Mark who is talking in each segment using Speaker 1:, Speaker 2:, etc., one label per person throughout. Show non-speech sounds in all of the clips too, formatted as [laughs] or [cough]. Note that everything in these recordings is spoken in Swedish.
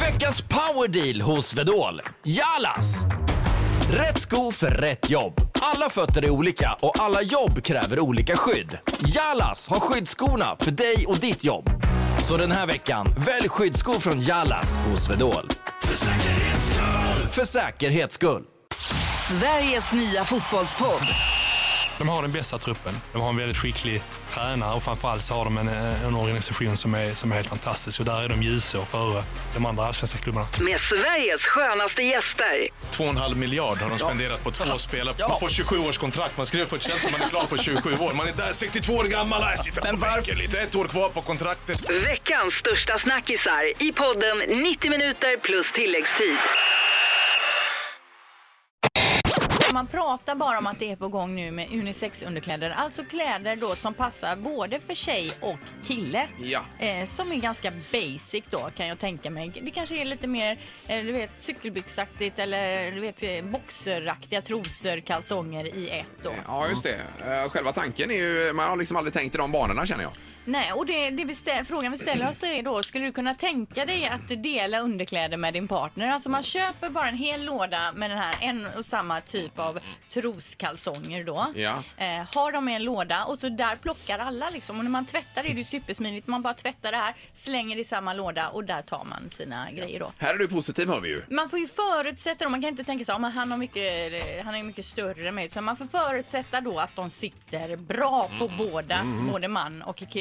Speaker 1: Veckans powerdeal hos Vedol. Jalas! Rätt sko för rätt jobb. Alla fötter är olika och alla jobb kräver olika skydd. Jalas har skyddsskorna för dig och ditt jobb. Så den här veckan, välj skyddsskor från Jalas hos Vedol. För säkerhets skull! För säkerhets skull.
Speaker 2: Sveriges nya fotbollspodd.
Speaker 3: De har den bästa truppen. De har en väldigt skicklig tränare och framförallt så har de en, eh, en organisation som är, som är helt fantastisk. Och där är de ljusår före de andra allsvenska klubbarna.
Speaker 2: Med Sveriges skönaste gäster.
Speaker 4: 2,5 miljard har de spenderat på två spelare. Man får 27 års kontrakt. Man skriver för Chelsea, man är klar för 27 år. Man är där 62 år gammal. Jag sitter på bänken lite. Ett år kvar på kontraktet.
Speaker 2: Veckans största snackisar i podden 90 minuter plus tilläggstid.
Speaker 5: Alltså, Man pratar bara om att det är på gång nu med unisex-underkläder. Alltså kläder då som passar både för tjej och kille.
Speaker 4: Ja.
Speaker 5: Eh, som är ganska basic då kan jag tänka mig. Det kanske är lite mer eh, du vet, cykelbyxaktigt eller du vet, eh, boxeraktiga trosor, kalsonger i ett då.
Speaker 6: Ja, just det. Eh, Själva tanken är ju... Man har liksom aldrig tänkt i de banorna känner jag.
Speaker 5: Nej, och det, det vi stä- frågan vi ställer oss är då, skulle du kunna tänka dig att dela underkläder med din partner? Alltså man köper bara en hel låda med den här en och samma typ av troskalsonger då.
Speaker 6: Ja.
Speaker 5: Eh, har dem i en låda och så där plockar alla liksom. Och när man tvättar är det ju supersmidigt. Man bara tvättar det här, slänger det i samma låda och där tar man sina grejer då.
Speaker 6: Här är du positiv hör vi ju.
Speaker 5: Man får ju förutsätta då, man kan inte tänka så att han, har mycket, han är mycket större än mig. Utan man får förutsätta då att de sitter bra på båda,
Speaker 6: Mm.
Speaker 5: både man och k- k-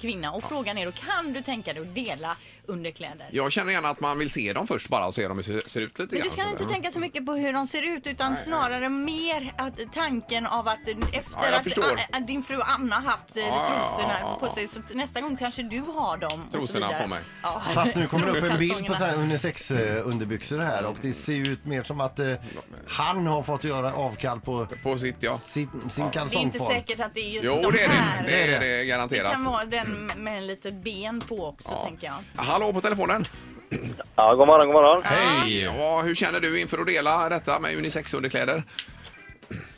Speaker 5: kvinna. Och frågan är då, kan du tänka dig att dela underkläder?
Speaker 6: Jag känner gärna att man vill se dem först bara och se hur de ser ser ut lite
Speaker 5: Men du
Speaker 6: grann.
Speaker 5: ska inte
Speaker 6: Mm.
Speaker 5: tänka så mycket på hur de ser ut utan snarare mer att tanken av att efter
Speaker 6: jag
Speaker 5: att,
Speaker 6: förstår.
Speaker 5: a- a- din fru Anna har haft eh,
Speaker 6: Ja, ja, ja,
Speaker 5: trosorna
Speaker 6: ja,
Speaker 5: på
Speaker 6: ja.
Speaker 5: sig så t- nästa gång kanske du har dem. och så
Speaker 6: Trosorna
Speaker 5: vidare.
Speaker 6: på mig.
Speaker 5: Ja.
Speaker 7: Fast nu kommer det upp en bild på
Speaker 5: Troskalsongerna.
Speaker 7: så här unisex-underbyxor här och det ser ju ut mer som att eh, han har fått göra avkall på
Speaker 6: På sitt, ja.
Speaker 7: sin, sin
Speaker 5: Det är inte
Speaker 7: kalsongform.
Speaker 5: säkert att det är just
Speaker 6: Jo,
Speaker 5: de
Speaker 6: det är
Speaker 5: här.
Speaker 6: det. Det är det, det är
Speaker 5: Det kan
Speaker 6: garanterat.
Speaker 5: vara den med- med lite ben på också, tänker jag.
Speaker 6: Hallå på telefonen.
Speaker 8: Ja, god morgon, god morgon.
Speaker 6: Hej! Ja, hur känner du inför att dela detta med unisex-underkläder?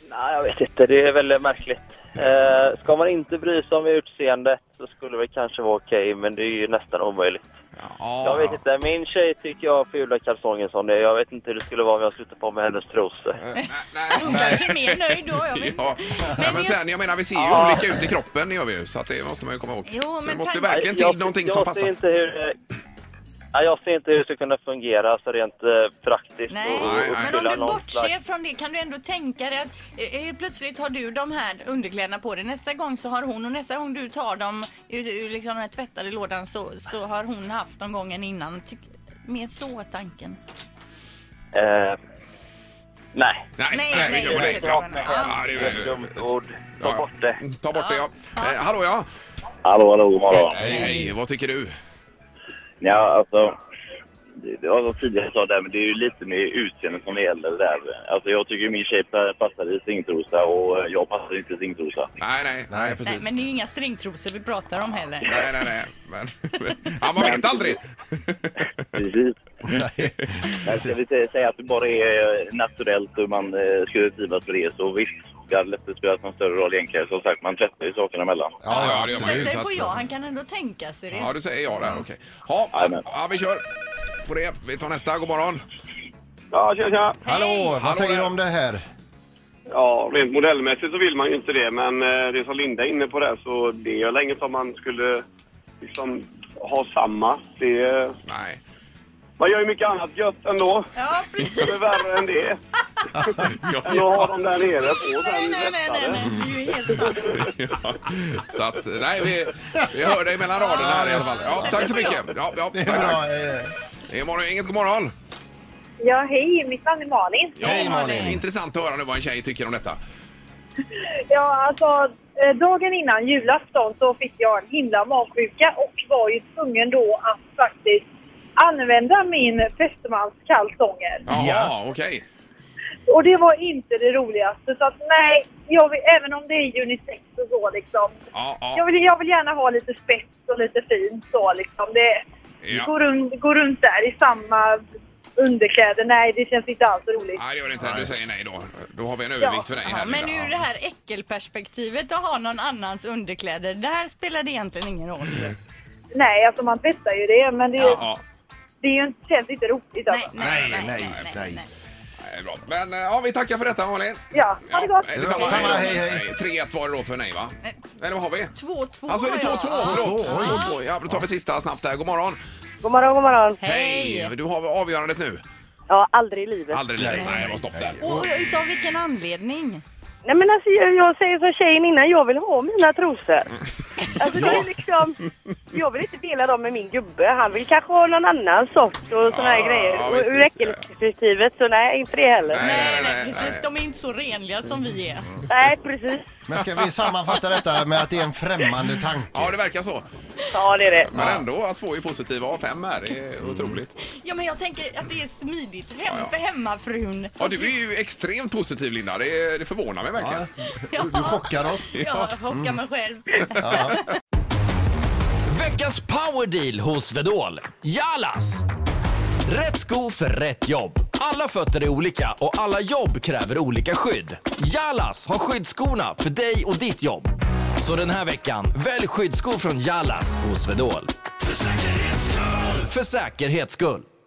Speaker 8: Nej, jag vet inte. Det är väldigt märkligt. Eh, ska man inte bry sig om utseendet så skulle det kanske vara okej, men det är ju nästan omöjligt.
Speaker 6: Ja,
Speaker 8: Jag vet inte. Min tjej tycker jag har fula kalsonger som det är. Jag vet inte hur det skulle vara om jag skulle ta på mig hennes trosor.
Speaker 6: Nej,
Speaker 5: Hon
Speaker 6: nej.
Speaker 5: kanske är mer nöjd då. Jag vet.
Speaker 6: [laughs] Ja. Nej, men sen, jag menar, vi ser ju
Speaker 8: Ja.
Speaker 6: olika ut i kroppen, gör vi ju, så att det måste man ju komma ihåg.
Speaker 5: Jo,
Speaker 6: så
Speaker 5: men
Speaker 6: det måste
Speaker 5: tank-
Speaker 6: verkligen till
Speaker 8: jag,
Speaker 6: någonting
Speaker 8: jag
Speaker 6: som
Speaker 8: Ser
Speaker 6: passar.
Speaker 8: inte hur, det- Nej, jag ser inte hur det skulle kunna fungera så rent eh, praktiskt.
Speaker 5: Nej,
Speaker 8: och- och
Speaker 6: Nej, nej.
Speaker 5: men om
Speaker 8: uppfylla
Speaker 5: du
Speaker 8: någon
Speaker 5: bortser
Speaker 8: slags-
Speaker 5: från det kan du ändå tänka dig att eh, eh, plötsligt har du de här underkläderna på dig. Nästa gång så har hon och nästa gång du tar dem ur, ur liksom den här tvättade lådan så, så har hon haft dem gången innan. Tyck, mer så tanken.
Speaker 8: Eh, nej.
Speaker 6: Nej,
Speaker 5: Nej,
Speaker 6: nej,
Speaker 5: nej,
Speaker 6: nej, nej,
Speaker 5: nej.
Speaker 6: ja.
Speaker 5: Ja,
Speaker 6: det är-
Speaker 8: det är ett dumt ord. Ta
Speaker 6: Ja,
Speaker 8: bort det.
Speaker 5: Mm.
Speaker 6: ja. Ta bort det, ja. Eh, hallå, ja.
Speaker 8: Hallå, hallå, god morgon.
Speaker 6: Hej, hej. Vad tycker du?
Speaker 8: Ja, alltså. Det det var som tidigare sa där, men det är ju lite med utseendet som det gäller där. Alltså jag tycker ju min tjej pa- passar i stringtrosa och jag passar inte i stringtrosa.
Speaker 6: Nej, nej, nej,
Speaker 5: Nej,
Speaker 6: precis.
Speaker 5: men det är ju inga stringtrosor vi pratar om heller.
Speaker 6: Nej, nej, nej. Men, [laughs] ja, man vet aldrig.
Speaker 8: Precis. Men ska vi sä- säga att det bara är eh, naturellt och man eh, skulle trivas med det så visst. Det hade inte spelat någon större roll egentligen. Som sagt, man tvättar ju sakerna mellan.
Speaker 6: Ja, ja, det gör man
Speaker 5: Sätt
Speaker 6: ju.
Speaker 5: dig
Speaker 6: så
Speaker 5: på
Speaker 6: att-
Speaker 5: ja, han kan ändå tänka sig det.
Speaker 6: Ja, du säger ja där, okej. Ja,
Speaker 8: Jajamän.
Speaker 6: ja, vi kör på det. Vi tar nästa. God morgon.
Speaker 9: Ja, tja, tja.
Speaker 7: Hallå,
Speaker 6: Hallå
Speaker 7: vad säger du
Speaker 6: där.
Speaker 7: om det här?
Speaker 9: Ja, rent modellmässigt så vill man ju inte det, men eh, det som Linda är inne på där, så det är länge som man skulle liksom ha samma. Det, eh,
Speaker 6: Nej.
Speaker 8: [laughs]
Speaker 9: man gör ju mycket annat gött ändå.
Speaker 5: Ja, precis.
Speaker 9: Det är värre än det. Än att ha dem där nere på
Speaker 5: Nej,
Speaker 9: sen
Speaker 5: nej, nej, nej,
Speaker 9: restade.
Speaker 5: nej. Det är ju helt sant.
Speaker 6: Ja, så att, nej, vi, vi hör dig mellan raderna här i alla fall. Ja, tack så mycket. Ja, ja, tack,
Speaker 7: Det är
Speaker 6: tack.
Speaker 7: bra. eh,
Speaker 6: Det är morgon, inget god morgon.
Speaker 10: Ja, hej. Mitt namn är Malin.
Speaker 6: Ja,
Speaker 7: Hej, Malin.
Speaker 6: Intressant att höra nu vad en tjej tycker om detta.
Speaker 10: Ja, alltså, eh, dagen innan julafton så fick jag en himla magsjuka och var ju tvungen då att faktiskt använda min fästmans kalsonger.
Speaker 6: Jaha,
Speaker 7: Ja.
Speaker 6: okej.
Speaker 10: Och det var inte det roligaste. Så att nej, jag vill, även om det är unisex och så liksom.
Speaker 6: Ja,
Speaker 10: Jag
Speaker 6: ja,
Speaker 10: vill, jag vill gärna ha lite spets och lite fint så liksom. Det,
Speaker 6: ja.
Speaker 10: gå, runt, gå runt där i samma underkläder. Nej, det känns inte alls roligt.
Speaker 6: Nej, det gör det inte. Du säger nej då. Då har vi en övervikt för dig
Speaker 5: Ja,
Speaker 6: här.
Speaker 5: men
Speaker 6: Linda.
Speaker 5: ur det här äckelperspektivet att ha någon annans
Speaker 6: Mm.
Speaker 5: underkläder, där spelar det egentligen ingen roll.
Speaker 10: Nej, alltså man tvättar ju det, men det är
Speaker 6: Ja, ja.
Speaker 11: det är ju, inte- känns inte roligt. Alltså.
Speaker 6: Nej, nej, nej. Nej, bra. Men eh, ja, vi tackar för detta, Malin.
Speaker 11: Ja, ha det gott!
Speaker 6: Nej, detsamma.
Speaker 7: Detsamma,
Speaker 6: hej,
Speaker 7: hej,
Speaker 6: då.
Speaker 7: hej.
Speaker 6: Nej, 3-1 var det då för nej, va? Eller vad har vi?
Speaker 5: 2-2
Speaker 6: Alltså är det 2-2,
Speaker 5: ja.
Speaker 6: förlåt.
Speaker 7: Två, oj.
Speaker 6: 2-2. Ja, då tar vi sista snabbt här. God morgon.
Speaker 10: God morgon, god morgon.
Speaker 6: Hej! Du har avgörandet nu.
Speaker 10: Ja, aldrig i livet.
Speaker 6: Aldrig i livet. Nej, det var stopp där.
Speaker 5: Och utav vilken anledning?
Speaker 10: Nej, men alltså jag, jag säger som tjejen innan, jag vill ha mina trosor.
Speaker 6: Mm.
Speaker 10: Alltså det är liksom, jag vill inte dela dem med min gubbe. Han vill kanske ha någon annan sort och såna här grejer.
Speaker 6: ja,
Speaker 10: Och
Speaker 6: Ah, visst,
Speaker 10: ur
Speaker 6: visst,
Speaker 10: äckelperspektivet, så nej, inte det heller.
Speaker 5: Nej, nej, precis. De är inte så renliga som vi är.
Speaker 6: Mm.
Speaker 10: Nej, precis.
Speaker 7: Men ska vi sammanfatta detta med att det är en främmande tanke?
Speaker 6: Ja, det verkar så.
Speaker 10: Ja, det är det.
Speaker 6: Men ändå att två är positiva av fem här. Det är otroligt.
Speaker 5: Ja, men jag tänker att det är smidigt hem
Speaker 6: Ja, ja.
Speaker 5: för hemmafrun.
Speaker 6: Ja, du är ju extremt positiv, Linda. Det, det förvånar mig verkligen.
Speaker 5: [laughs] Ja.
Speaker 7: Du chockar oss.
Speaker 5: Ja, jag chockar mig själv.
Speaker 1: Veckans powerdeal hos Swedol. Jalas! Rätt sko för rätt jobb. Alla fötter är olika och alla jobb kräver olika skydd. Jalas har skyddsskorna för dig och ditt jobb. Så den här veckan, välj skyddsskor från Jalas hos Swedol. För säkerhets skull! För säkerhets skull.